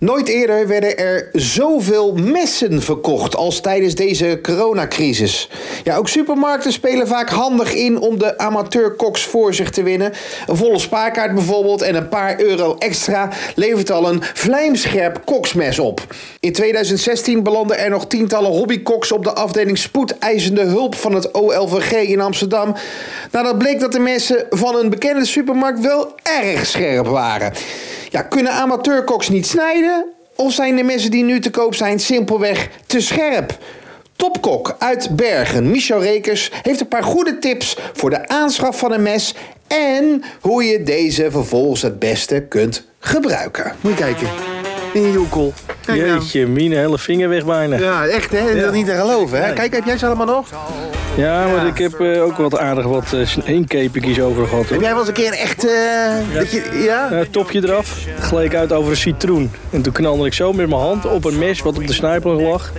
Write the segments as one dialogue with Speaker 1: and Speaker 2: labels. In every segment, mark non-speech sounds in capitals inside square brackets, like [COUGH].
Speaker 1: Nooit eerder werden er zoveel messen verkocht als tijdens deze coronacrisis. Ja, ook supermarkten spelen vaak handig in om de amateurkoks voor zich te winnen. Een volle spaarkaart bijvoorbeeld en een paar euro extra levert al een vlijmscherp koksmes op. In 2016 belanden er nog tientallen hobbykoks op de afdeling spoedeisende hulp van het OLVG in Amsterdam. Nadat bleek dat de messen van een bekende supermarkt wel erg scherp waren. Ja, kunnen amateurkoks niet snijden? Of zijn de messen die nu te koop zijn simpelweg te scherp? Topkok uit Bergen, Michel Rekers, heeft een paar goede tips voor de aanschaf van een mes en hoe je deze vervolgens het beste kunt gebruiken.
Speaker 2: Moet je kijken. In je joekel. Kijk nou.
Speaker 3: Jeetje, mine hele vinger weg bijna. Ja,
Speaker 2: Ja, echt hè? Dat is niet te geloven hè?
Speaker 3: Nee.
Speaker 2: Kijk, heb jij ze allemaal nog?
Speaker 3: maar ik heb eh, ook wat aardig wat eh, sn- heenkepenkies over gehad.
Speaker 2: Heb
Speaker 3: Hoor.
Speaker 2: jij wel eens een keer echt... eh, dat je, ja?
Speaker 3: Eh, topje eraf, gleek uit over een citroen. En toen knalde ik zo met mijn hand op een mes wat op de snijplank lag.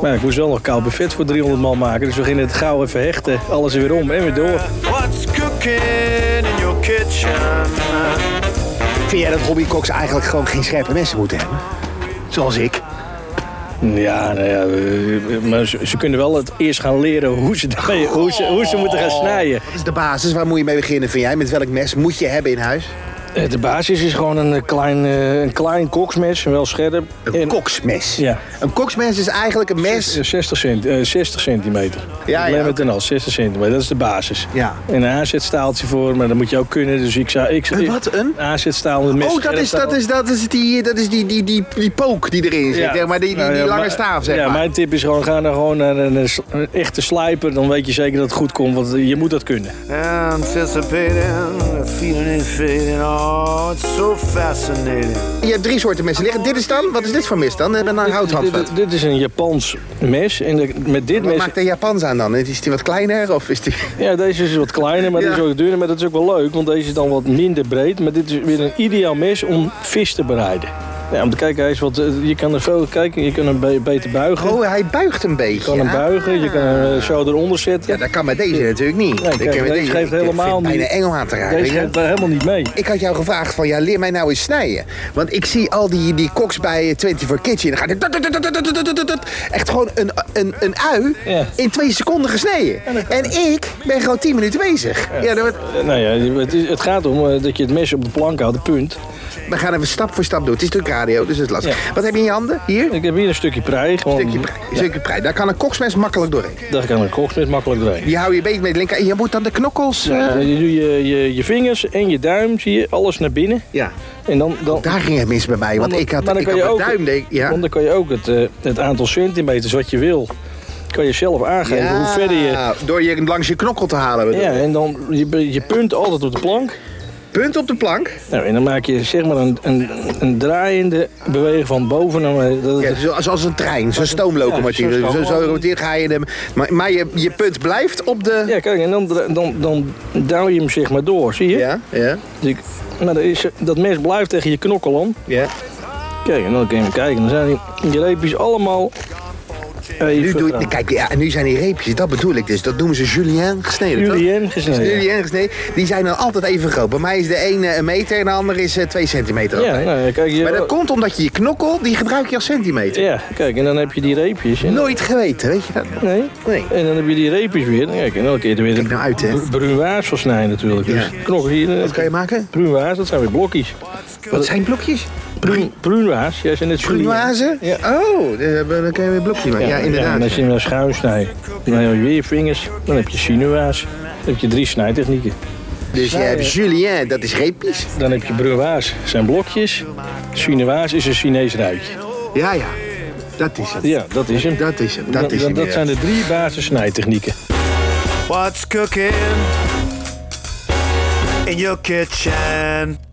Speaker 3: Maar ja, ik moest wel nog koud buffet voor 300 man maken. Dus we gingen het gauw even hechten. Alles er weer om en weer door.
Speaker 4: What's cooking in your kitchen?
Speaker 2: Vind jij dat hobbykoks eigenlijk gewoon geen scherpe messen moeten hebben? Zoals ik.
Speaker 3: Ja, nou ja, eh, maar ze, ze kunnen wel het eerst gaan leren hoe ze, daarmee- hoe ze, hoe ze moeten gaan snijden.
Speaker 2: Dat is de basis. Waar moet je mee beginnen, vind jij? Met welk mes moet je hebben in huis?
Speaker 3: Eh, De basis is gewoon een eh, klein, eh, een klein koksmes, wel scherp.
Speaker 2: Een
Speaker 3: En-
Speaker 2: koksmes.
Speaker 3: Ja.
Speaker 2: Een koksmes is eigenlijk een mes...
Speaker 3: Eh, 60, cent, eh, 60 centimeter. Ja,
Speaker 2: Ja, ja,
Speaker 3: ja.
Speaker 2: oké.
Speaker 3: en al, 60 centimeter, dat is de basis.
Speaker 2: Ja.
Speaker 3: En een aanzetstaaltje voor, maar dat moet je ook kunnen. Dus ik zou... Ik,
Speaker 2: Een wat, een?
Speaker 3: aanzetstaal met mes.
Speaker 2: Oh, dat is, dat is, dat is, die, dat is die, die, die, die pook die erin zit. zeg maar die, die,
Speaker 3: Nou
Speaker 2: die
Speaker 3: ja,
Speaker 2: lange
Speaker 3: maar-
Speaker 2: staaf, zeg
Speaker 3: ja,
Speaker 2: maar.
Speaker 3: Mijn tip is gewoon, ga dan gewoon naar een, een s- een echte slijper. Dan weet je zeker dat het goed komt, want je moet dat kunnen.
Speaker 4: Anticipating, the feeling is fading. Oh, it's so fascinating.
Speaker 2: Je hebt drie soorten messen liggen. Dit is dan? Wat is dit voor mes dan? Eh, Met een houthandvat.
Speaker 3: Dit, dit is een Japans mes. En de- met dit
Speaker 2: Wat
Speaker 3: mes...
Speaker 2: maakt de Japans aan dan? Is die wat kleiner of
Speaker 3: [LAUGHS]
Speaker 2: is die...
Speaker 3: Ja, deze is wat kleiner, maar
Speaker 2: Ja.
Speaker 3: deze is ook dunner. Maar dat is ook wel leuk, want deze is dan wat minder breed. Maar dit is weer een ideaal mes om vis te bereiden. Ja, om te kijken, hij is wat, eh, je kan er veel kijken, je kan hem be- beter buigen.
Speaker 2: Oh, hij buigt een beetje.
Speaker 3: je kan hem
Speaker 2: Ah.
Speaker 3: buigen, je kan hem eh, zo eronder
Speaker 2: Ja,
Speaker 3: zetten.
Speaker 2: dat kan met deze natuurlijk niet.
Speaker 3: Nee,
Speaker 2: Ik
Speaker 3: kijk,
Speaker 2: heb met
Speaker 3: deze geeft
Speaker 2: ik
Speaker 3: helemaal
Speaker 2: vind
Speaker 3: niet.
Speaker 2: bijna engel aan te raken.
Speaker 3: deze
Speaker 2: weet je?
Speaker 3: gaat daar helemaal niet mee.
Speaker 2: Ik had jou gevraagd van, ja, leer mij nou eens snijden. Want ik zie al die, die koks bij 24 Kitchen. Dan gaat het... dat, dat, dat, dat, dat, dat, dat, dat. Echt gewoon een, een, een ui
Speaker 3: Ja.
Speaker 2: in twee seconden gesneden. En ik ben gewoon 10 minuten bezig. Ja. dan wordt-
Speaker 3: Eh, Nou ja, het, is- het gaat om eh, dat je het mes op de plank houdt, de punt.
Speaker 2: we gaan even stap voor stap doen. Het is natuurlijk radio, dus het is lastig.
Speaker 3: Ja.
Speaker 2: Wat heb je in je handen? Hier?
Speaker 3: Ik heb hier een stukje prei, gewoon,
Speaker 2: Stukje prei. Stukje prei. Daar kan een koksmes makkelijk doorheen.
Speaker 3: daar kan een koksmes makkelijk doorheen.
Speaker 2: Die hou je beet met linker. En je moet dan de knokkels... eh,
Speaker 3: Eh, Je doet je, je, je vingers en je duim, zie je, alles naar binnen.
Speaker 2: ja.
Speaker 3: En dan, dan,
Speaker 2: Daar ging het mis bij mij, want
Speaker 3: Maar
Speaker 2: ik
Speaker 3: dan-
Speaker 2: had,
Speaker 3: maar dan
Speaker 2: ik
Speaker 3: kan
Speaker 2: had
Speaker 3: je
Speaker 2: mijn
Speaker 3: ook-
Speaker 2: duim... denk- ja.
Speaker 3: Want dan kan je ook het, eh, het aantal centimeters wat je wil, kan je zelf aangeven
Speaker 2: Ja,
Speaker 3: hoe verder je...
Speaker 2: Door je langs je knokkel te halen. bedoel
Speaker 3: Ja,
Speaker 2: ik.
Speaker 3: en dan je, je punt altijd op de plank.
Speaker 2: Punt op de plank.
Speaker 3: Nou, en dan maak je zeg maar een, een, een draaiende beweging van boven naar beneden. Dat-
Speaker 2: Ja,
Speaker 3: dat-
Speaker 2: zoals als een trein, zo'n
Speaker 3: Ja,
Speaker 2: stoomlocomotief.
Speaker 3: zo'n
Speaker 2: zo, zo
Speaker 3: stoomlocomotief.
Speaker 2: roteer ga je hem. Maar, maar je, je punt blijft op de.
Speaker 3: ja, kijk, en dan, dra- dan, dan duw je hem zeg maar door, zie je?
Speaker 2: ja, ja.
Speaker 3: Dus ik, maar dat, is, dat mes blijft tegen je knokkel aan.
Speaker 2: ja.
Speaker 3: Kijk, en dan kun je hem kijken. Dan zijn die, die reepjes allemaal even
Speaker 2: Nu doe je,
Speaker 3: groot.
Speaker 2: kijk, ja, en nu zijn die reepjes, dat bedoel ik dus. Dat noemen ze Julien gesneden. toch? Dus
Speaker 3: Julien gesneden.
Speaker 2: Julien gesneden. Die zijn dan altijd even groot. Bij mij is de ene een meter en de andere is eh, twee centimeter.
Speaker 3: Ja, nou, kijk, je,
Speaker 2: Maar dat komt omdat je je knokkel, die gebruik je als centimeter.
Speaker 3: ja, kijk, en dan heb je die reepjes. En
Speaker 2: Nooit geweten, weet je dat?
Speaker 3: Nee.
Speaker 2: Nee.
Speaker 3: En dan heb je die reepjes weer. Kijk, en elke keer er weer
Speaker 2: Kijk nou uit, hè.
Speaker 3: br- bruin waas van snijden natuurlijk. Dus
Speaker 2: Ja.
Speaker 3: knokken hier.
Speaker 2: Wat kan je maken?
Speaker 3: Bruin waas, dat zijn weer blokjes.
Speaker 2: Wat zijn blokjes?
Speaker 3: Bruin, bruin waas, jij zei net Julien.
Speaker 2: Brunoise?
Speaker 3: Ja.
Speaker 2: Oh, daar hebben- daar kun je weer een blokje maken. Ja,
Speaker 3: En
Speaker 2: inderdaad.
Speaker 3: als je hem naar schuin snijdt, dan heb je weer je vingers. Dan heb je sinuaas. Dan heb je drie snijtechnieken.
Speaker 2: Dus je hebt Julien, dat is reepjes.
Speaker 3: Dan heb je bruin waas, zijn blokjes. Sinuaas is een Chinees ruitje.
Speaker 2: Ja, ja. Dat is het.
Speaker 3: Ja, dat is hem.
Speaker 2: Dat is hem. Dat is hem.
Speaker 3: dat
Speaker 2: ja.
Speaker 3: zijn de drie basissnijtechnieken.
Speaker 4: What's cooking in your kitchen?